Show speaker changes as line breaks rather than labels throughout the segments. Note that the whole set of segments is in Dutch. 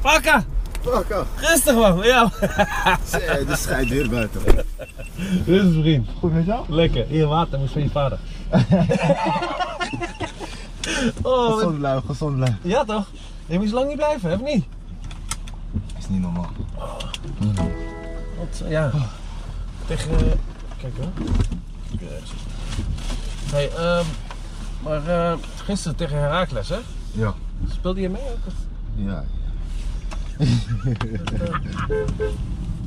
Pakken!
Fuck off.
Rustig man, ja.
Zee, de schijt weer buiten.
Rustig vriend.
Goed met jou?
Lekker. Hier water, moest van je vader. oh, wat-
Gezond lui, gezond lui.
ja toch? Je moest lang niet blijven, hè, of niet?
Is niet normaal.
Wat, ja. Oh. Tegen. eh, Kijk hoor. Ja, zo. Hey, ehm, maar eh, gisteren tegen Herakles, hè?
Ja.
Speelde je mee ook?
Ja.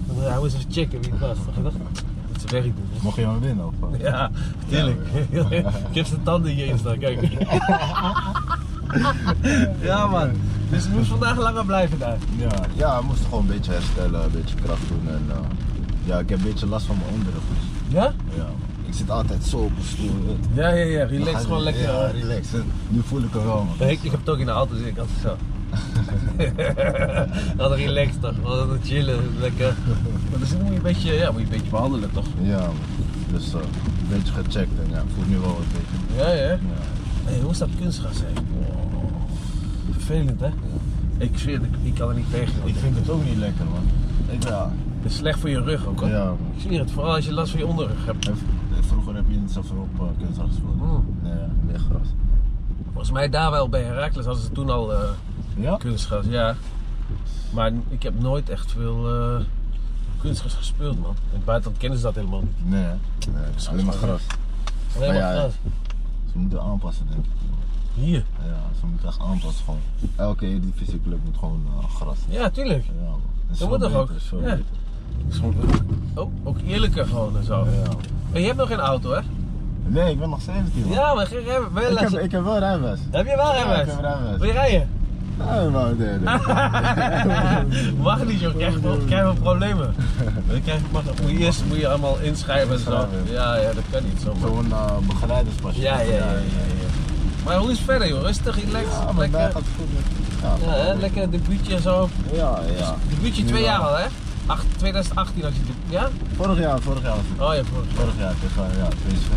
Want Hij moest even checken wie het was. Dacht je dat? Dat ze werk dus. doen.
Mocht je hem winnen of wat?
hè? Ja, tuurlijk. Ik heb zijn tanden hier eens staan, kijk. ja man, dus het moest vandaag langer blijven daar.
Ja. Ja, ik moest gewoon een beetje herstellen, een beetje kracht doen. En, eh, ja, ik heb een beetje last van mijn onderrug. dus,
Ja?
Ja. Ik zit altijd zo op mijn stoel. weet je.
Ja, ja, ja. Relax
Ja,
gewoon lekker.
Ja, relax. En nu voel ik hem wel, man.
Nee, ik, ik heb het ook in de auto zitten, ik altijd zo. Altijd relaxed toch, altijd chillen, lekker. Maar dus moet je een beetje, ja, moet je een beetje behandelen toch?
Ja, man. Dus eh, een beetje gecheckt en ja, ik voel nu wel een beetje.
Ja, ja.
Ja.
Hey, hoe is dat kunstgras, hè? Wow. Vervelend, hè? Ik zweer, het, ik, ik kan er niet tegen.
Ik vind het ook niet lekker, man. Ik, ja.
Het is slecht voor je rug ook, hoor.
Ja.
Ik zweer het, vooral als je last van je onderrug hebt.
En Vroeger heb je niet zoveel op uh, kunstgras gespeeld.
Mm.
Nee, meer gras.
Volgens mij daar wel bij Herakles hadden ze toen al eh,
Ja?
kunstgras, ja. Maar ik heb nooit echt veel eh, kunstgras gespeeld, man. In het buitenland kennen ze dat helemaal niet.
Nee, hè? nee, het is alleen maar gras.
Alleen maar
Ah, ja, ja.
gras.
Ze moeten aanpassen, denk ik.
Hier.
Ja, ze moeten echt aanpassen gewoon. Elke Eredivisieclub moet gewoon eh, gras.
Ja, tuurlijk.
Ja, man.
Dat
is veel
moet toch ook?
beter, is veel
Ja.
beter.
Is gewoon- Oh, ook eerlijker gewoon en zo.
Ja, man.
Maar je hebt nog geen auto, hè?
Nee, ik ben nog 17, man.
Ja, maar geen rem. Wel
ik, heb,
heb,
ik heb wel rijbewijs.
je wel
Ja, ik
rijbewijs?
heb rijbewijs.
Wil je rijden?
Nee, maar nee, nee.
Mag niet, joh. Krijg je krijg je problemen. Dan krijg je, mag, moet je eerst moet je allemaal inschrijven en zo.
Inschrijven.
Ja, ja, dat kan niet zo.
Zo'n eh, begeleiderspasje.
Ja, ja, ja, ja, ja. Maar hoe is het verder, joh? Rustig, relaxed.
Ja, maar
lekker,
daar gaat het goed. met-
ja, hè? lekker debuutje en zo.
Ja, ja.
Debuutje
Nu
twee
wel.
jaar al, hè? Acht, 2018 had je debuut. Ja?
Vorig jaar, vorig jaar. was het.
Oh ja, vorig jaar.
Vorig jaar tegen ja, PSV.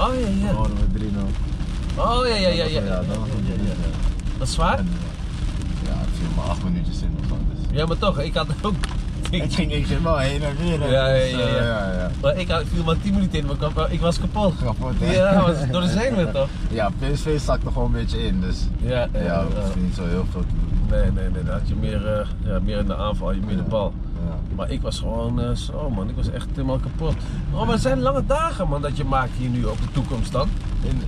Oh ja, ja.
Horen we 3-0.
Oh ja, ja, ja. ja,
Ja,
ja,
dat was
ja,
een
ja, Ah. ja.
beetje.
Dat is zwaar?
En, eh, Ja, ik viel maar acht minuutjes in of zo. Dus.
Ja, maar toch, ik had ook.
Ik ging, ik ging wel heen en weer. hè.
Ja, ja,
Dus, eh,
ja, ja.
ja, ja.
Maar ik had, viel maar 10 minuten in, maar ik was- ik was kapot.
Kapot, hè?
Ja, was door de zenuwen toch?
Ja, PSV zakte gewoon een beetje in, dus
Ja,
ja,
ja,
dat is niet zo heel veel te doen.
Nee, nee, nee, dan had je meer, eh, ja, meer in de aanval, had je meer de bal.
Ja.
Maar ik was gewoon eh, zo man, ik was echt helemaal kapot. Oh, maar het zijn lange dagen man dat je maakt hier nu op de toekomst dan.
In,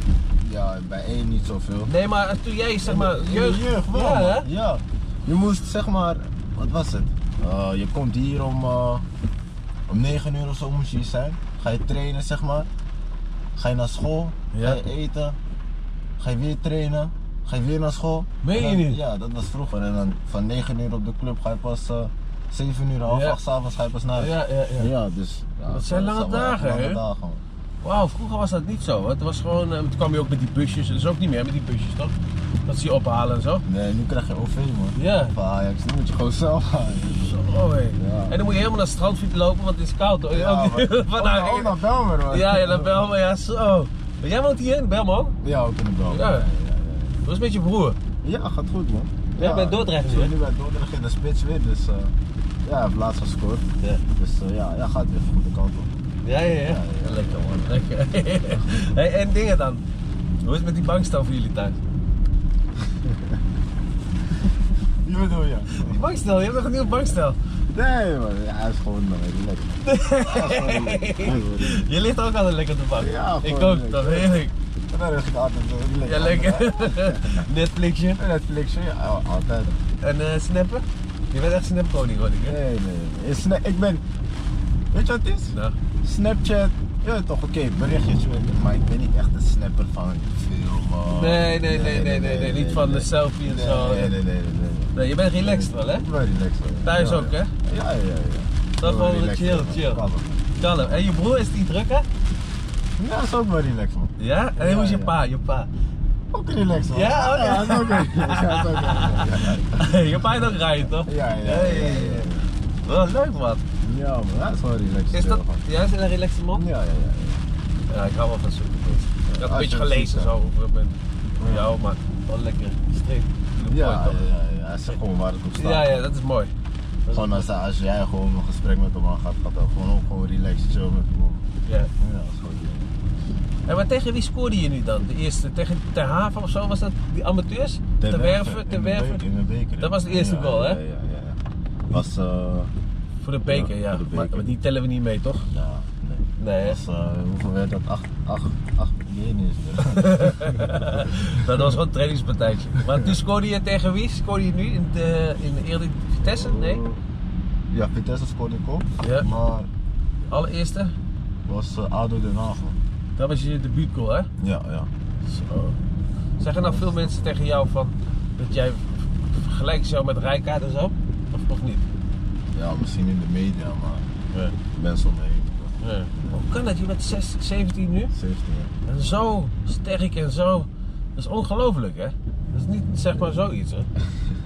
ja, bij één niet zoveel.
Nee, maar toen jij zeg maar
In de
jeugd...
wel.
Ja, hè?
man. ja. Je moest zeg maar, wat was het? Eh, je komt hier om, eh, om 9 uur of zo moest je hier zijn. Ga je trainen zeg maar. Ga je naar school.
Ja.
Ga je eten. Ga je weer trainen. Ga je weer naar school.
Meen je
En dan-
niet?
Ja, dat was vroeger. En dan van 9 uur op de club ga je pas eh 7 uur, half
Ja.
8 s'avonds ga je pas naar huis.
Oh, Ja, ja, ja.
Ja, dus. Ja,
Dat zijn lange
wel echt
dagen,
lange
hè?
dagen, man.
Wauw, vroeger was dat niet zo. Het was gewoon, eh, toen kwam je ook met die busjes, dat is ook niet meer met die busjes toch? Dat ze je ophalen en zo.
Nee, nu krijg je OV, man.
Ja.
Van Ajax, nu moet je gewoon zelf gaan.
Zo, oh, hé.
Ja.
En dan moet je helemaal naar het strand fietsen lopen, want het is koud. hoor.
Ja,
Ook-
maar-
vandaag-
Oh, oh, naar Belmer, man.
Ja, ja, naar Belma, ja, zo. Maar jij woont hier in Belmo?
Ja, ook in de Belmer.
Ja.
Ja, ja,
Hoe is het met je broer?
ja. Ja, gaat goed, man.
Jij bent Dordrecht
ik
nu, hè?
ben nu bij Dordrecht in de spits weer, dus... eh, ja, hij heeft laatst gescoord.
Ja.
Dus eh, ja, ja, gaat weer goed de kant op.
Ja, ja, ja. Lekker man, lekker. hey, en dingen dan? Hoe is het met die bankstel voor jullie thuis?
Wie bedoel je?
Die bankstel, je hebt nog een nieuwe bankstel.
Nee, man. Ja, hij is gewoon eh, lekker. Hij is gewoon lekker. Hij is gewoon lekker.
Je ligt ook altijd lekker op de bank.
Ja,
Ik
gewoon
ook,
lekker.
dat weet ik.
En dan ligt hij altijd eh, lekker.
Ja, lekker. Netflixje.
En Netflix, ja, altijd.
En eh, snappen? Je bent echt snapkoning hoor ik hè?
Nee, nee, nee. Sna- Ik ben... Weet je wat het is?
Nou,
Snapchat, ja toch, oké, berichtjes, weet je, maar ik ben niet echt een snapper van film. man.
Nee, nee, nee, nee, nee, nee, niet van de selfie en
nee,
zo.
Nee, nee, nee, nee. nee.
nee, je bent relaxed wel hè?
Ik ben relaxed. hoor.
Thuis
Ja,
ook,
ja.
hè?
Ja, ja, ja.
Dat
Ik ben
gewoon
relaxed,
chill,
man.
chill.
Kalm.
Kalm. En je broer is die druk hè?
Ja, dat is ook wel relaxed, man.
Ja? En hoe is je
Ja, ja.
pa, je pa?
Ook relaxed, man.
Ja, oh, ja.
dat is ook relaxed. Ja, dat is ook relaxed.
je pa is ook rijden toch?
Ja, ja, ja. Ja, ja, ja.
Wel leuk man.
Ja, man, dat is wel relaxed.
Is
chill,
dat,
man.
jij is een relaxed man?
Ja, ja, ja.
Ja, ik hou wel van superfoods. Ik had een
Als
beetje
je het
gelezen
ziet,
zo over het moment.
Ja.
Ja, maar wel lekker streep.
Ja, ja, ja. ja, Hij zegt gewoon waar het op staat.
Ja, ja, dat is mooi. Dat is
Gewoon als, als jij gewoon een gesprek met hem aangaat, gaat dat gewoon ook gewoon relaxed chill met hem.
Ja.
Ja, dat is gewoon
En maar tegen wie scoorde je nu dan? De eerste, tegen Ter Haven of zo, was dat die amateurs? Te werven, te
in de be-
werven.
In de beker.
Dat was de eerste
Ja,
goal, hè?
Ja, ja, ja. Was, eh,
Voor de beker, ja.
Ja, voor de
Maar,
beker.
maar die tellen we niet mee, toch?
ja, nee.
Nee, hè?
Was, eh, hoeveel werd dat? 8, 8, 8, nee, nee,
dat was gewoon een trainingspartijtje. Maar toen scoorde je tegen wie? Scoorde je nu in de, in de Eredivisie? Vitesse? Nee?
Ja, Vitesse scoorde ik ook,
Ja.
maar
Allereerste?
was eh, ADO Den Haag. hoor.
Dat was je debuutgoal, hè?
Ja, ja.
Zo. Zeggen nou veel mensen tegen jou van dat jij vergelijkt zo met Rijkaard en zo? Of, of niet?
Ja, misschien in de media, maar
Ja.
mensen om me heen.
Hoe kan dat? Je bent 16, 17 nu
17 jaar.
en zo sterk en zo. Dat is ongelooflijk, hè? Dat is niet zeg maar zoiets, hè?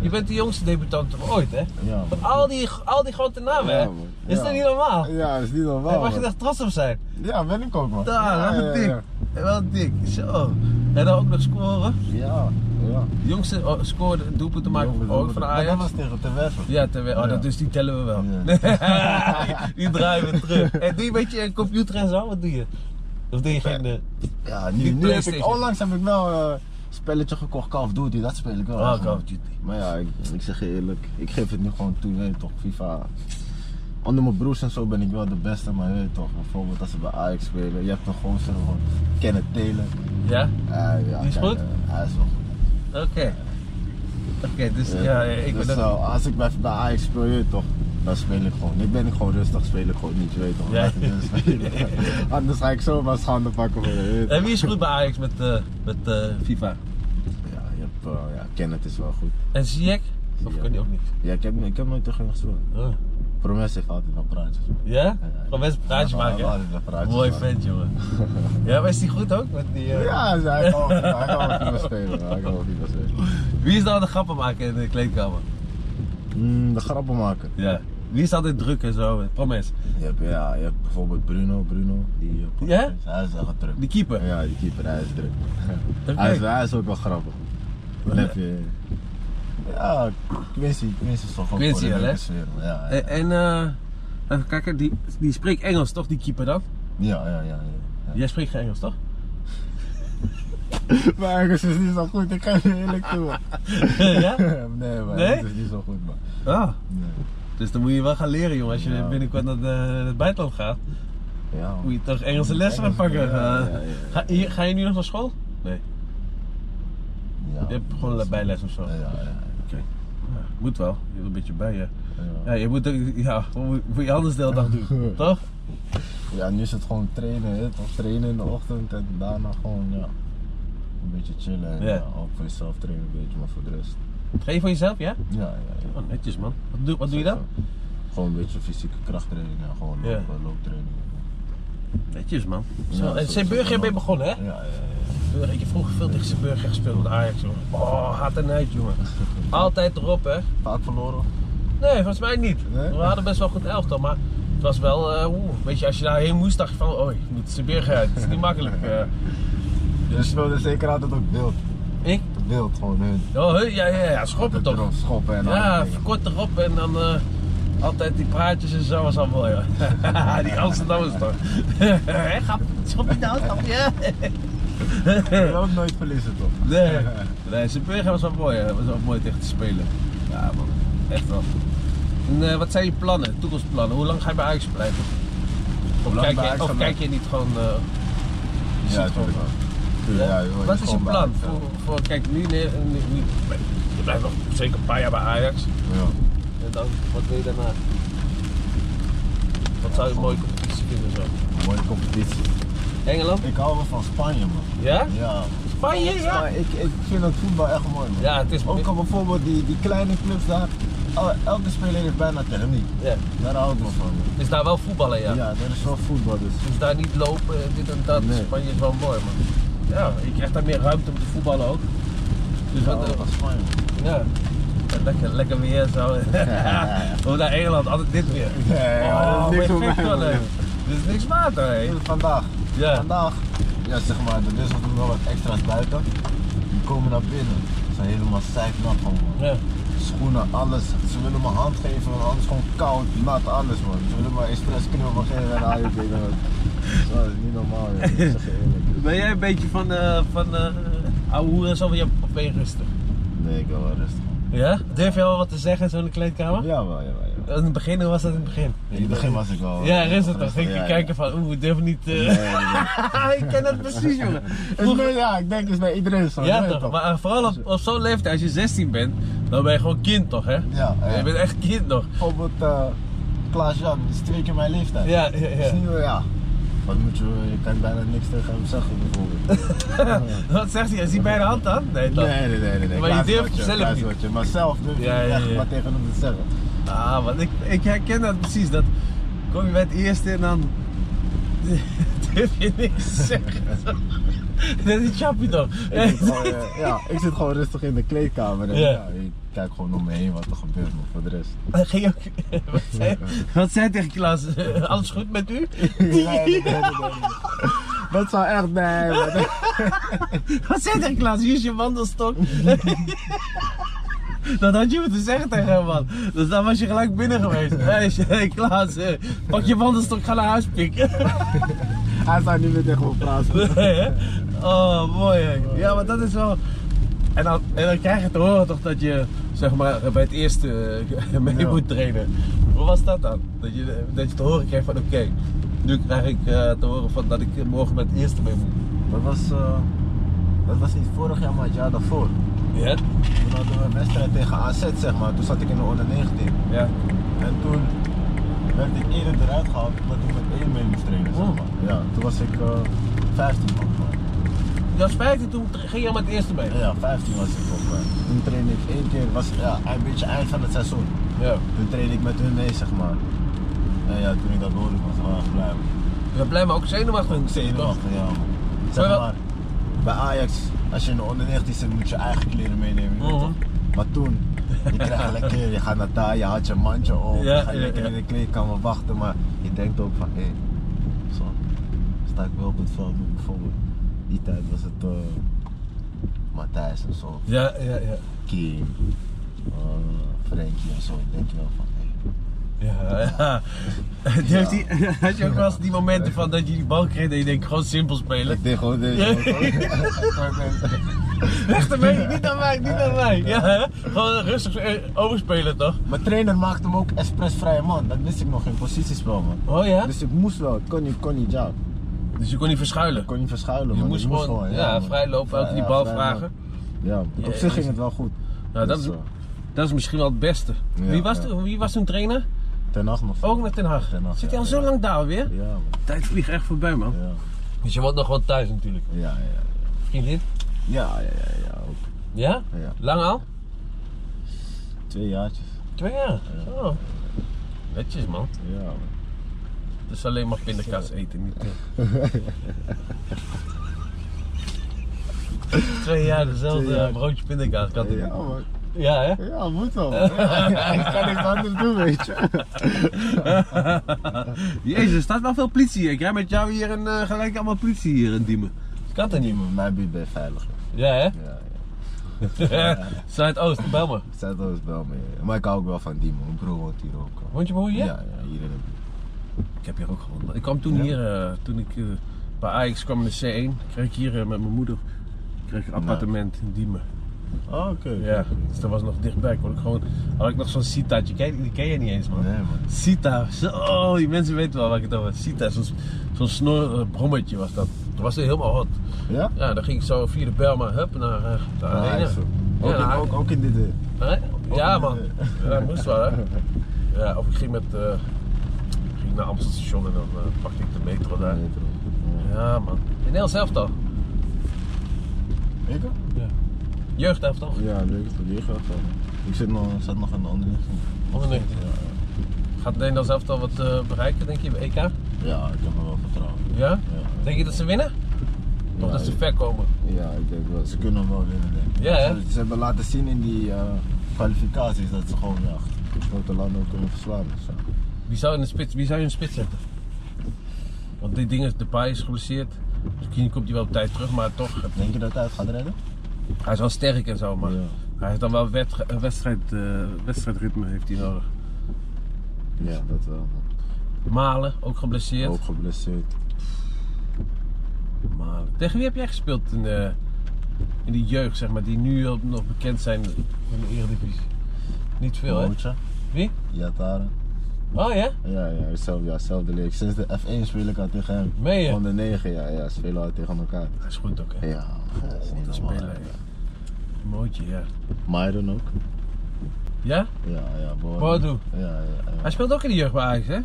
Je bent de jongste debutant van ooit, hè?
Ja,
Van
man.
al die, al die grote namen, hè?
Ja, man.
Is
Ja.
dat niet normaal?
Ja, dat is niet normaal.
Daar mag Ah. je
man.
echt trots op zijn.
Ja, ben ik ook, man.
Daar,
ja,
wat
ja,
dik.
ja.
Wel dik, zo. En dan ook nog scoren.
Ja, ja.
De jongste oh, scoorde een doelpunt te maken ook van
Maar
Ajax.
Dat was tegen Te Werven.
Ja, terwijl, oh,
Ja.
Dat, dus die tellen we wel. die draaien we terug. En doe je een beetje een computer en zo? Wat doe je? Of doe je geen... eh,
Ja,
Die
nu, nu heb ik,
PlayStation.
onlangs heb ik wel eh, een spelletje gekocht, Call of Duty, dat speel ik wel.
Oh,
echt,
Call
man.
of Duty.
Maar ja, ik, ik zeg je eerlijk, ik geef het nu gewoon toe, je weet toch, FIFA. Onder mijn broers en zo ben ik wel de beste, maar je weet toch, bijvoorbeeld als ze bij Ajax spelen, je hebt een gozer van Kenneth Taylor.
Ja?
Eh, ja,
Die is
kijk,
goed?
eh, hij is wel goed.
Oké. Oké, dus ja,
Eh,
ja, ik ben
dus,
dat...
eh, als ik bij, bij Ajax speel, je weet toch, dan speel ik gewoon. Ik ben ik gewoon rustig, speel ik gewoon niet, je weet toch.
Ja.
laat ik dus spelen. Anders ga ik zomaar schande pakken voor je, je weet
En wie is goed bij Ajax met, eh, met eh, FIFA?
Ja, je hebt, eh, ja, Kenneth is wel goed.
En Ziyech? Of
Ziyech.
kan die ook niet?
Ja, ik heb, ik heb nooit tegen hem gespeeld.
Oh.
Promes heeft altijd wel praatjes.
Ja? Gewoon best een praatje
Ja,
maken.
altijd wel praatjes
Mooi
maken.
vent, jongen. Ja, maar is die goed ook? Met die, eh,
Ja, dus hij- hij kan wel- hij kan wel FIFA spelen. Hij kan wel FIFA spelen.
Wie is dan de grappen maken in de kleedkamer?
Mm, de grappen maken.
Ja. Wie is altijd druk en zo? Promes.
Je hebt, ja, je hebt bijvoorbeeld Bruno, Bruno. Die, eh,
Ja?
Hij is echt druk.
Die keeper.
Ja, die keeper, hij is druk.
Oké.
Hij, is, hij is ook wel grappig. Dan heb je... Ja, Quincy, Quincy is toch ook
Quincy,
wel een
hè?
leuke sfeer. man. Ja, ja,
En, en eh, even kijken, die, die spreekt Engels toch, die keeper dan?
ja, ja. ja, ja.
Jij spreekt geen Engels toch?
Maar ergens is niet zo goed, ik ga je eerlijk toe. man.
ja?
Nee, maar
Nee?
het is niet zo goed, man.
Ah,
Nee.
dus dan moet je wel gaan leren jongen, als je
Ja.
binnenkort naar de- het buitenland gaat.
Ja, man.
Moet je toch Engelse les gaan
Engels,
pakken.
ja, ja,
Eh,
ja, ja.
Ga, hier- ga je nu nog naar school? Nee,
Ja.
je hebt gewoon een bijles of zo.
Ja, ja, ja.
Ja, moet wel, je hebt een beetje bij je. Ja,
ja.
je moet ook, ja, wat moet moet je anders de hele dag doen, toch?
Ja, nu is het gewoon trainen, hè? toch? Trainen in de ochtend en daarna gewoon, ja. Een beetje chillen en
Ja.
ja, ook voor jezelf trainen een beetje, maar voor de rest.
Train voor jezelf, ja?
Ja, ja, ja.
Oh, netjes man. Wat doe, wat doe je dan?
Gewoon een beetje fysieke krachttraining en gewoon
Ja.
loop, looptraining.
Netjes man.
Ja,
Zo, en
zo-
Zeeburger
zo-
ben je begonnen hè?
Ja, ja, ja.
Burger, Ik heb vroeger veel tegen Burger gespeeld met Ajax, jongen. Oh, hard en uit, jongen. Altijd erop, hè?
Vaak verloren?
Nee, volgens mij niet.
Nee?
We hadden best wel goed elftal, maar het was wel, eh, oeh, weet je, als je daarheen moest, dacht je van, oh, ik moet Zeeburger uit. Het is niet makkelijk. eh.
Je speelde Dus zeker altijd ook wild.
ik?
Wild, gewoon hun.
Oh, he, ja, ja, ja, schoppen
Altijd
toch.
erop Schoppen en
Ja,
alle dingen.
kort erop en dan eh, altijd die praatjes en zo was al mooi, hoor. die Amsterdammers toch. Hé, grap, schop je nou, grap je?
Je wil ook nooit verliezen, toch?
Nee, nee Zeeburger was wel mooi, hè. was wel mooi tegen te spelen. Ja man, echt wel. En, eh, wat zijn je plannen, toekomstplannen? Hoe lang ga je bij Ajax blijven? Of,
lang
kijk
bij
je,
Ajax
of
gaan
kijk je niet gewoon... eh, je
Ja,
ziet
natuurlijk
gewoon-
wel. Tuurlijk,
Ja?
ja, je wordt
wat is je
gewoon
plan?
behaald,
Voor, voor, kijk, nu, nee, nu, nu- je blijft nog zeker een paar jaar bij Ajax.
eh, ja. Ja.
En dan, wat wil je daarna? Wat zou je een mooie competitie vinden zo?
Mooie competitie.
Engeland?
Ik hou wel van Spanje, man.
Ja?
Ja.
Spanje, ja!
Maar ik, ik vind het voetbal echt mooi, man.
Ja, het is...
Ook al bijvoorbeeld die, die kleine clubs daar. el- Elke speler heeft bijna televisie.
Ja,
Daar hou ik wel van. man.
het is daar wel voetballen,
Ja, dat is wel voetbal dus.
Dus daar niet lopen, en dit en dat.
Nee.
Spanje is wel mooi, man. Ja, je krijgt daar meer ruimte om te voetballen ook. Dus
Ik hou
wat,
wel van Spanje. man.
ja. Ja, Lekker, lekker weer zo. Of naar Engeland, altijd dit weer.
Nee, maar dat is niks
ben
voor
je gek
mij,
dan,
man.
hè. Dit is niks water, hè.
Vandaag.
Ja.
Vandaag. Ja, zeg maar, er is nog wel wat extra's buiten. Die komen naar binnen. Ze zijn helemaal zeiknat, gewoon, man.
Ja.
schoenen, alles. Ze willen me hand geven, want anders gewoon koud, nat, alles man. Ze willen me expres knuffel geven en al die dingen. man. Zo, Dat is niet normaal, joh. ik zeg je eerlijk.
Ben jij een beetje van, eh van eh ouwe hoeren en zo, want je ben je rustig?
Nee, ik wil wel rustig.
Ja? Durf je al wat te zeggen zo in de kleedkamer?
Jawel, jawel, jawel.
In het begin, hoe was dat in het begin?
In het begin was ik wel. eh,
Ja, rustig toch?
Rustig,
Ging je
ja,
kijken van, oeh, durf niet... eh.
ja. Nee, nee, nee.
ik ken dat precies, jongen.
Het is bij- ja, ik denk het is bij iedereen zo.
Ja
weet je
toch, maar eh, vooral op, op zo'n leeftijd, als je 16 bent, dan ben je gewoon kind toch, hè?
Ja, ja.
Je bent echt kind toch?
Bijvoorbeeld eh Klaas-Jan, die is twee keer mijn leeftijd.
Ja, ja,
Dat is
ja.
niet meer, ja. Wat moet je, je kan bijna niks tegen hem zeggen bijvoorbeeld.
Wat zegt hij? Is hij bij de hand aan? Nee toch?
Nee, nee, nee, nee. nee.
Maar je
Klaas
durft
wat je-
zelf
Klaas
niet.
wat je- Maar zelf durf je
Ja,
niet
ja,
echt
ja.
wat tegen hem te zeggen.
Ah, want ik, ik herken dat precies. Dat kom je bij het eerste en dan durf je niks te zeggen. dat is chappie toch?
Ik zit, gewoon, eh, ja, ik zit gewoon rustig in de kleedkamer. En,
Ja.
ja, ik kijk gewoon om me heen wat er gebeurt, maar voor de rest.
Dan ging je ook- wat, zei, wat zei tegen Klaas? Eh, Alles goed met u?
Nee, nee, nee, nee, nee. Dat zou echt, nee. maar-
Wat zei tegen Klaas? Hier is je wandelstok. Dat had je moeten zeggen tegen hem, man. Dus dan was je gelijk binnen geweest. Hé, hey, Klaas, eh, pak je wandelstok, ga naar huis pikken.
Hij zou niet meer tegen me praten.
Nee, hè? Oh, mooi hè. Ja, maar dat is wel. En dan, en dan krijg je te horen toch dat je zeg maar, bij het eerste eh, mee
Ja.
moet trainen. Hoe was dat dan? Dat je, dat je te horen krijgt van oké, nu krijg ik eh, te horen van dat ik morgen met het eerste mee moet.
Dat was, eh, dat was niet vorig jaar, maar het jaar daarvoor.
Ja?
Toen hadden we een wedstrijd tegen AZ, zeg maar. Toen zat ik in de onder 19.
Ja.
En toen werd ik eerder eruit gehaald omdat ik met één mee moest trainen, zeg maar. Ja, toen was ik eh 15 man.
Dat spijt je, toen ging je met het eerste mee.
Ja, 15 was ik volgens mij. Toen trainde ik één keer, was ja, een beetje eind van het seizoen.
Ja.
Toen trainde ik met hun mee, zeg maar. En ja, toen ik dat hoorde, was ik wel erg blij.
We blijven ook zenuwachtig.
Ook zenuwachtig, ja. man. Zeg
Maar wel-
maar, bij Ajax, als je in de onder 19 zit, moet je eigen kleren meenemen. weet je
Mhm.
toch? Maar toen, je krijgt lekker, je gaat naar daar, je had je mandje op,
Ja,
je gaat
ja,
lekker
ja.
in de kleedkamer wachten, maar je denkt ook van, hé, zo, sta ik wel op het veld. Maar Bijvoorbeeld, die tijd was het eh Matthijs en zo,
Ja, ja, ja.
Kim, eh, Frenkie en zo. denk je wel van, hé.
Ja, ja. Durft die- Had je ook wel eens die momenten van dat je die bal kreeg en je denkt gewoon simpel spelen?
Ik deed gewoon deze.
Ja.
gewoon.
Weg ermee, niet aan mij, niet aan mij. Ja, hè? Gewoon rustig eh, overspelen toch?
Mijn trainer maakte hem ook expressvrije man, dat wist ik nog in positiespel man.
Oh ja? Dus,
Dus ik moest wel, ik kon niet, kon niet ja. Ik
je kon niet verschuilen.
kon niet verschuilen,
Je
man.
moest
Ik
gewoon, ja,
man.
vrij lopen, elke
Ja,
die
ja,
bal
vrij
vragen.
lopen. Ja, man. op
Ja,
zich ging het wel goed.
Nou, dat, is,
Dus, eh,
dat is misschien wel het beste.
Ja,
wie, was
ja.
toen, wie was toen trainer?
ten acht nog.
Ook naar Ten Hag.
Ten Hag,
Zit hij
ja,
al zo
ja.
lang daar weer?
Ja, man.
Tijd vliegt echt voorbij, man.
Ja,
Dus je wordt nog gewoon thuis natuurlijk.
ja, ja.
Vriendin?
Ja, ja, ja, ja, ja, ook.
Ja?
Ja.
Lang al?
Twee jaartjes.
Twee jaar. Oh. Netjes, man.
Ja, man.
Het is Dus alleen maar pindakaas eten, niet Twee jaar dezelfde eh,
Twee jaar.
broodje pindakaas. Ik had het-
Ja, man.
Ja, hè?
Ja, moet wel, man. Ja, ik kan niks anders doen, weet je.
Jezus, er staat wel veel politie hier. Ik rij met jou hier en eh, gelijk allemaal politie hier in Diemen. Kan dat niet, man.
Mijn buurt ben je veilig.
Ja, hè?
Ja, ja.
Zuidoost, bel me.
Zuidoost wel mee. Maar ik hou ook wel van die man. Mijn broer woont hier ook. eh.
Woont je broer hier?
Ja, ja, hier in de buurt.
Ik heb hier ook gewonnen. Ik kwam toen
Ja?
hier, eh, toen ik eh, bij Ajax kwam in de C1, kreeg ik hier eh, met mijn moeder kreeg ik een
Nou.
appartement in Diemen.
Oh, oké.
Ja, dus dat was nog dichtbij. Kon ik gewoon, had ik nog zo'n Sitaatje. Ken, die ken je niet eens, man.
Nee, man.
Sita. Zo- Oh, die mensen weten wel waar ik het over heb. Sita, zo'n zo'n snor eh, brommetje was dat. Dat was helemaal hot.
Ja?
Ja, dan ging ik zo via de Belma, hup, naar eh, de
Ah,
arena.
is zo.
Ja,
Ook, in,
nou,
ook, ook in dit. eh,
Hè? Ja,
in
man.
de-
Ja, dat moest wel, hè. Ja, of ik ging met... eh, ging naar Amsterdam station en dan eh, pakte ik de metro daar.
metro.
Ja, man. In heel zelf toch?
Ja. Ik?
Ja. Jeugd toch?
Ja, leuk. Ik probeer graag wel. Ik zit nog, zat nog in de andere richting.
Onder 19.
Ja,
Gaat Nederland zelf al wat eh, bereiken, denk je, bij EK?
ja. ja, ik heb er wel vertrouwen. in.
Ja?
Ja.
Denk je dat ze winnen? Of
Ja,
dat ze
ik-
ver komen?
Ja, ik denk wel. Ze kunnen wel winnen, denk ik.
Ja, hè?
Ze, ze hebben laten zien in die eh, kwalificaties dat ze gewoon ja, grote landen kunnen verslaan. Dus, ja.
Wie zou, in de spits, wie zou je in de spits zetten? Want dit ding is, de paai is geblesseerd. Misschien komt hij wel op tijd terug, maar toch.
Denk je dat hij het gaat redden?
Hij is wel sterk en zo, maar
Ja.
hij heeft dan wel wetge- eh, wedstrijd, eh, wedstrijdritme heeft hij nodig.
Ja, dat wel.
Malen, ook geblesseerd.
Ook geblesseerd.
Malen. Tegen wie heb jij gespeeld in, de, in die jeugd, zeg maar, die nu al nog bekend zijn in de Eredivisie? Niet veel, hè?
Mootje.
Wie?
Yatara.
Oh ja?
Ja, ja, hetzelfde, ja, hetzelfde leek. Sinds de F1 speel ik al tegen hem.
Meen je?
Onder 9, ja, ja, spelen we al tegen elkaar.
Hij is goed ook, hè?
Ja, dat is niet
Dat
normaal.
spelen, ja. Mootje, ja.
Maiden ook.
Ja?
Ja, ja, Boadu.
Boadu.
Ja, ja, ja.
Hij speelt ook in de jeugd bij Ajax, hè?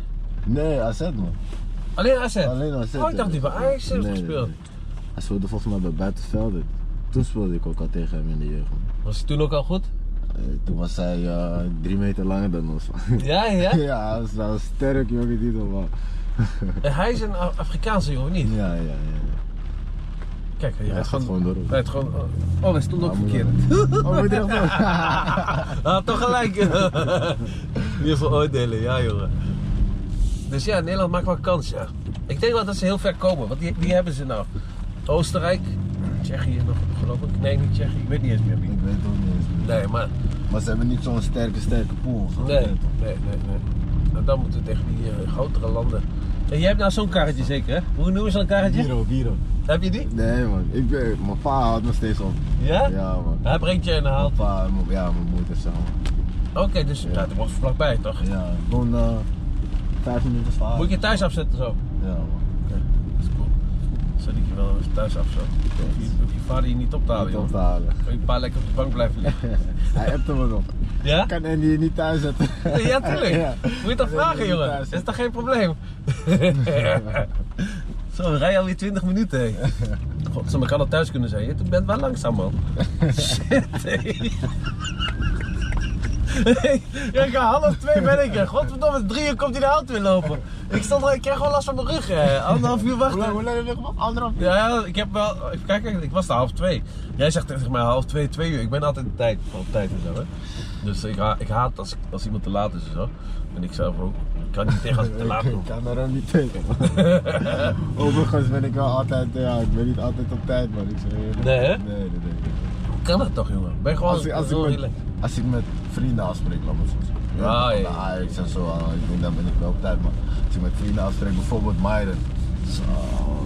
Nee, AZ man.
Alleen AZ?
Alleen AZ.
Oh, ik dacht die bij Ajax heeft gespeeld.
Hij speelde volgens mij bij Buitenvelden. Toen speelde ik ook al tegen hem in de jeugd. man.
Was hij toen ook al goed?
Eh, Toen was hij eh, drie meter langer dan ons. man.
Ja, ja.
Ja, hij was, hij was sterk jongen die dan man.
En hij is een Af- Afrikaanse jongen, niet?
Ja, ja, ja. ja.
Kijk, hij
Hij
rijdt
gaat
gewoon...
gewoon door. hoor.
hij rijdt gewoon... Oh, hij stond ook
Hij moet
verkeerd.
dan- Oh, moet je echt
Hij had toch gelijk. Niet veroordelen, ja jongen. Dus ja, Nederland maakt wel kans, ja. Ik denk wel dat ze heel ver komen. Want die, wie hebben ze nou? Oostenrijk, Tsjechië nog, geloof ik. Nee, niet Tsjechië. Ik weet niet eens meer wie.
Ik weet het ook niet eens. meer.
Nee, maar...
Maar ze hebben niet zo'n sterke, sterke pool. zo.
Oh, Nee, nee, nee, nee. Nou, dan moeten we tegen die eh, grotere landen. En jij hebt nou zo'n karretje zeker, hè? Hoe noemen ze dat karretje?
Biro, Biro.
Heb je die?
Nee man, ik ben, mijn pa houdt nog steeds op.
Ja?
Ja man.
Hij brengt je en hij haalt.
Mijn pa, en mijn- ja, mijn moeder zeg maar.
Oké, dus ja.
Ja.
dat was vlakbij toch?
Ja, gewoon eh, vijf minuten varen.
Moet ik je thuis afzetten zo?
Ja man.
Dat is cool. Zet ik je wel eens thuis af zo. Hoef je- hoef je vader je niet op te halen,
Niet
joh.
op te halen.
Kan je een paar lekker op de bank blijven liggen.
Hij appte me nog.
Ja?
Kan Andy je niet thuis zetten?
Ja, tuurlijk.
Ja.
Moet je toch
Ja,
vragen,
niet
jongen?
thuis,
Dat is
hè.
toch geen probleem? Zo, we rijden alweer 20 minuten, hé. God, maar kan het thuis kunnen zijn. Je bent wel langzaam, man. Shit, hé. Ja, ik half twee ben ik er. Godverdomme, drie uur komt hij de auto weer lopen. Ik, stond, er- ik krijg gewoon last van mijn rug, hè. Anderhalf uur
Hoe lang, hoe
wachten.
lang heb je nog? Anderhalf uur?
Ja, ik heb wel... Even kijken, ik was daar half twee. Jij zegt tegen mij half twee, twee uur. Ik ben altijd op tijd, op tijd en zo, hè. Dus ik, ha- ik haat als, als iemand te laat is en zo. En ik zelf ook. Ik kan niet tegen als ik te laat kom.
Ik kan daar ook niet tegen. man. Overigens ben ik wel altijd, ja, ik ben niet altijd op tijd man. Ik zeg je eerlijk.
Nee, hè? Oh,
Nee, nee, nee.
Hoe kan dat toch, jongen? Ben je gewoon
Als ik, als, ik
heel
met,
relaxed?
als ik met vrienden afspreek, laat maar zo zeggen.
Ah, ja.
van de Ajax en zo, ah, ik denk, dan ben ik wel op tijd. Maar als ik met vrienden afspreek, bijvoorbeeld Maiden. Zo,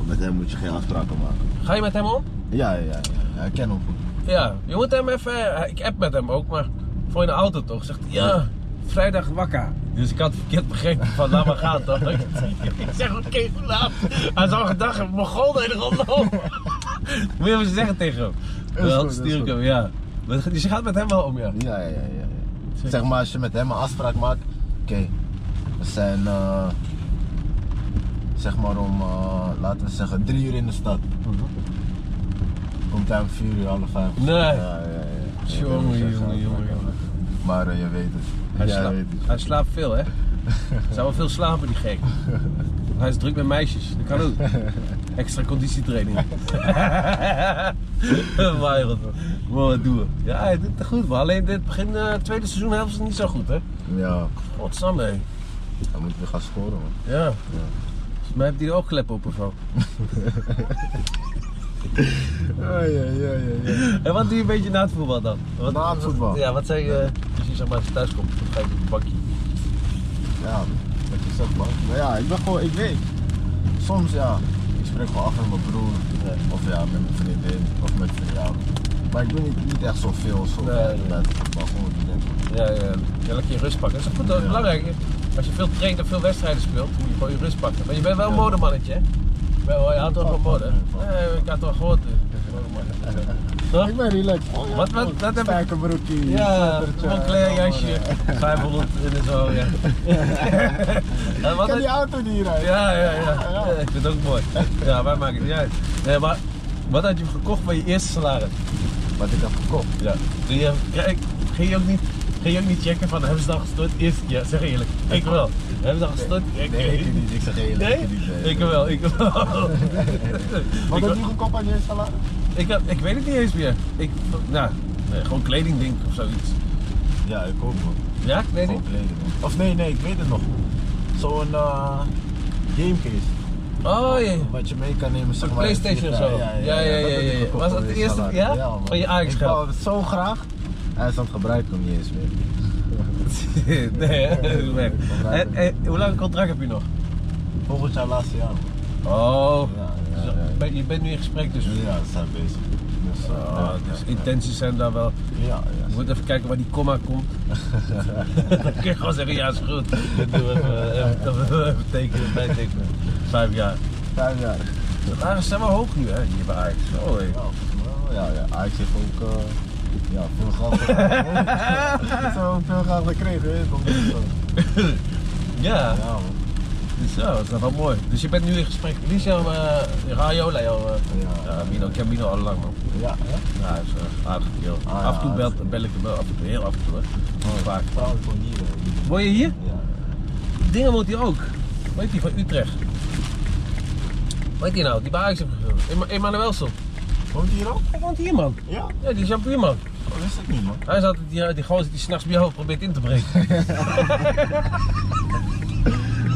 met hem moet je geen afspraken maken.
Ga je met hem om?
Ja, ja, ja. ja. Hij kent hem goed.
Ja, je moet hem even. eh, Ik app met hem ook, maar voor in de auto toch? Zegt hij, ja, vrijdag wakker. Dus ik had het verkeerd begrepen van laat maar gaan toch? ik zeg oké, laat. Hij zou gedacht hebben, Mongool deed er rondom. moet je even zeggen tegen hem.
goed,
Dan
is
stuur ik
goed.
hem, ja. Maar Dus je gaat met hem wel om, ja.
Ja, ja, ja. ja, ja. Zeg maar, als je met hem een afspraak maakt, oké, we zijn, eh, zeg maar om, eh, laten we zeggen, drie uur in de stad. Komt hij om vier uur, half vijf.
Nee.
Ja, ja, ja.
Jongen,
Ik weet niet of je
jongen,
gaat,
jongen,
maar-
jongen.
Maar eh, je weet het.
Hij,
Jij
sla-
weet het.
hij slaapt veel, hè? Zou wel veel slapen, die gek. Hij is druk met meisjes, dat kan ook. Extra conditietraining. maar wat, wat doen we? Ja, hij doet het goed, maar alleen dit begin eh, tweede seizoen helft is niet zo goed, hè?
Ja,
Godsamme, hé.
hij moet weer gaan scoren, man.
Ja. Volgens mij heeft hij er ook klep op of zo.
Ja, ja, ja, ja.
En wat doe je een beetje na het voetbal dan? Wat,
Na het voetbal?
Ja, wat zei je eh, als je zeg maar als je thuis komt? Dan ga je op het bakje.
Ja, dat je zegt man. Maar ja, ik ben gewoon, ik weet. Soms ja, ik spreek gewoon af met mijn broer.
Ja.
Of ja, met mijn vriendin. Of met vrienden. Maar ik doe niet, niet echt zoveel. Zo
Nee, nee.
met voetbal gewoon die dingen.
Ja, ja. ja lekker je rust pakken. Dat is goed, dat is
Ja.
belangrijk. Als je veel traint en veel wedstrijden speelt, moet je gewoon je rust pakken. Maar je bent wel een
Ja.
modemannetje, hè? Je bent wel- Je houdt wel van mode.
Ja.
Nee, ik had het wel gehoord. eh, modemannetje. Toch?
Ik ben relaxed. Oh, ja,
Wat- wat-
gewoon
dat heb ik-
Spijker broekie.
Ja,
sweatertje,
een klein
ja,
jasje,
man.
500 in de zo, ja. En
Ik
wat
kan die
had-
auto niet rijden.
ja, ja, ja.
Ja.
Ja, Ik vind het ook mooi. Ja, wij maken het niet uit. Nee, maar wat had je gekocht bij je eerste salaris?
Wat ik heb gekocht.
Ja. Toen je, ja, ik- ging, je ook niet, ging je ook niet checken van hebben ze dan gestort? Eerst, ja, zeg eerlijk. Ik wel. Hebben ze dan gestort? Ja,
Nee, ik niet. Ik zeg eerlijk.
Nee?
ik niet, nee.
Ik wel, ik wel.
Wat
ik,
heb je gekocht aan je salaris?
ik, had- ik weet het niet eens meer. Ik, nou, nee, gewoon kledingding of zoiets.
Ja, ik ook man.
Ja, kleding?
Gewoon kleden, man. Of nee, nee, ik weet het nog. Zo'n eh, gamecase.
Oh jee.
Wat je mee kan nemen, zeg
Een
maar. in
PlayStation of zo.
vliegtuig.
Ja, ja, ja,
dat heb ik
ja, ja.
gekocht.
Was dat
voor
de
die
eerste-
salade.
ja?
man.
Van je Ajax
Ik
geld.
wou het zo graag. Hij is aan het gebruiken hem niet eens meer.
nee, hè? dat is weg. En, en hoe lang contract heb je nog?
Volgend jaar laatste jaar. man.
Oh,
Ja,
dus
ja, ja.
ben- je bent nu in gesprek dus.
Ja, ze zijn bezig. Dus, eh,
Oh,
ja,
dus
ja,
intenties zijn daar wel.
Ja, ja.
We moeten even kijken waar die komma komt. Dan kun je gewoon zeggen, ja is goed. Dat doen we even, eh, even, dat we even tekenen, bijtekenen. Vijf jaar.
Vijf jaar.
Maar ze zijn wel hoog nu hè, hier bij Ajax. Oh, hé.
Ja, ja, ja. Ajax heeft ook eh, ja, veel geld gekregen. Zo veel geld gekregen, weet je. omdat het, eh,
Ja,
Ja, man.
zo, dat is wel mooi. Dus je bent nu in gesprek. Wie is jouw eh, Raiola? Jouw, eh,
Ja.
ja, Mino, ik ken Mino al lang man.
Ja, hè?
Ja, hij is eh, aardig kerel.
Ah, ja,
af en toe
aardig.
belt, bel ik hem wel, af en toe, heel af en toe. Hè.
Mooi.
Vaak.
Vrouw van hier. hè.
Woon je hier?
Ja.
Dingen woont hij ook. Weet die van Utrecht? Weet die nou, die bij Ajax heeft gespeeld. Emma- Emmanuelson.
Woont hij hier ook?
Hij woont hier man.
Ja.
Ja, die champion man.
Dat wist ik niet, man.
Hij is altijd die, eh, die gozer die s'nachts bij jou probeert in te breken.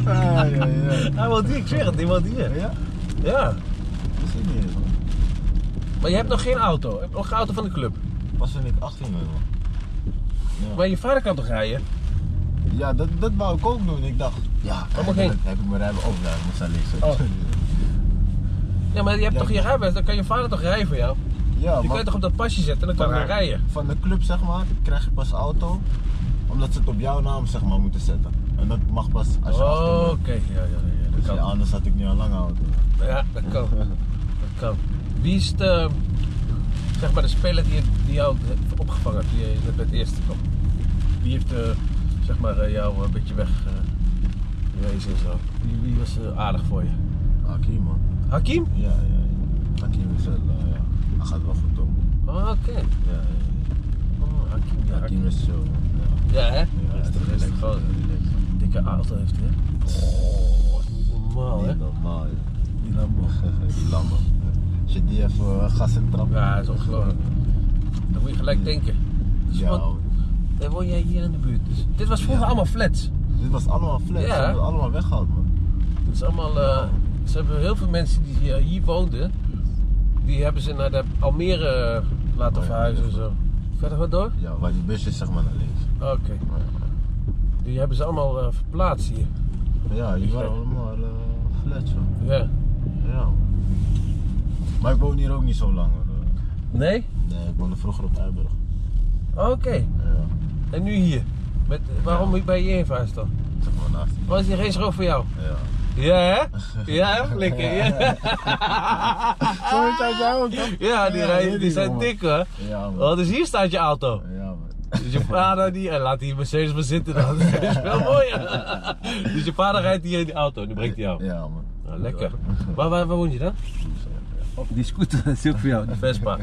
Ja, ja, ja.
Hij woont hier, ik zweer het, die woont hier.
Ja?
Ja.
Wist ik niet eens, man.
Maar je hebt nog geen auto. Je hebt nog geen auto van de club.
Pas toen ik 18 ben, man.
Maar je vader kan toch rijden?
Ja, dat, dat wou ik ook doen. Ik dacht, ja,
moet
eigenlijk
heen?
heb ik mijn rijbewijs over. Ja, ik moest daar liggen.
Oh. Ja, maar je hebt
Ja.
toch je rijbewijs? Dan kan je vader toch rijden voor jou?
Ja,
Die kan je toch op dat pasje zetten en dan kan hij rijden?
van de club zeg maar, krijg je pas auto omdat ze het op jouw naam zeg maar moeten zetten. En dat mag pas als je 18
Oh,
bent.
Oké, ja, ja, ja, dat
Dus ja,
kan.
anders had ik nu al lang auto.
Ja, dat kan. Dat kan. Wie is de, zeg maar de speler die, die jou heeft opgevangen, die je net bij het eerste kwam? Wie heeft eh, zeg maar, eh, jou een beetje weggewezen en zo? Wie, wie was eh, aardig voor je?
Hakim man.
Hakim?
Ja, ja, ja. Hakim is wel, eh, ja. Hij gaat wel goed om.
Oh, Oké.
Ja, ja, ja.
Oh, Hakim, ja. Hakim.
Hakim is zo. Ja,
Ja, hè?
ja,
dat is toch
relaxed,
redelijk groot.
relaxed.
Dikke auto heeft hij, hè? Oh, niet normaal, hè?
Niet normaal, ja.
Die Lambo.
Die lammen. Als je die even eh, gas in trapt.
Ja, dat is ongelooflijk. Dan moet je gelijk denken. Dus
Ja,
wat-
hoor.
Dan woon jij hier aan de buurt. Dus, dit was vroeger
Ja.
allemaal flats.
dit was allemaal flat.
Ja.
Ze hebben het allemaal weggehaald, man.
Het is allemaal, eh, ze hebben heel veel mensen die hier, hier woonden, die hebben ze naar de Almere eh, laten
Oh ja,
verhuizen en
dat is
zo. Verder wat door?
Ja, waar die bus is, zeg maar naar links.
Oké. Die hebben ze allemaal eh, verplaatst hier.
Ja, die waren allemaal uh, flats, man.
Ja.
Ja. Maar ik woon hier ook niet zo lang. hoor.
Nee?
Nee, ik woonde vroeger op Eiburg.
Oké.
Ja.
En nu hier. Met, waarom ben je heen verhuisd dan?
Zeg maar naast.
Was hier geen schroef voor jou?
Ja.
Ja hè? Ja hè? Flikker. Ja,
Zo heet hij jou ook, toch?
ja die, rijden-
weet
die
ik
zijn
nog, man.
dik hoor.
Ja, man.
Oh, dus hier staat je auto.
Ja, man.
Dus je vader die, en laat die Mercedes maar zitten dan. Dat is wel mooi. Dus je vader rijdt hier in die auto en die brengt hij af.
Ja, man.
Nou, lekker. Waar, waar, waar woon je dan? Die scooter, dat is ook voor jou. Die Vespa.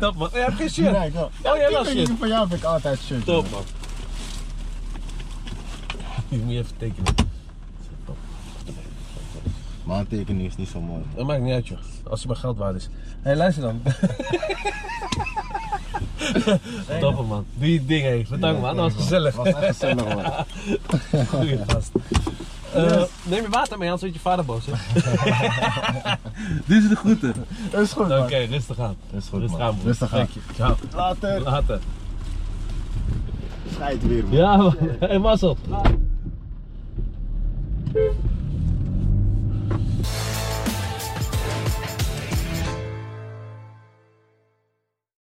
Top man. Ja, geen shit. Oh,
Kijk, ja.
jij wel
Ik denk,
shit.
Voor jou heb ik altijd shit.
Top
man.
man. Je moet je even tekenen.
Maar een tekening is niet zo mooi.
Dat maakt niet uit joh. Als het maar geld waard is. Hé, hey, luister dan. Topper man. Doe je ding hé. Bedankt man. Dat was gezellig.
was echt gezellig, man.
Goeie gast. Eh, neem je water mee, anders wordt je vader boos. hè?
Dit is de groeten.
Is goed,
Oké,
man.
rustig aan.
Is goed,
Rustig
man.
aan, broer.
Rustig aan.
Dank je. Ciao.
Later.
Later.
Schijt weer, man.
Ja, man. Hey, Marcel.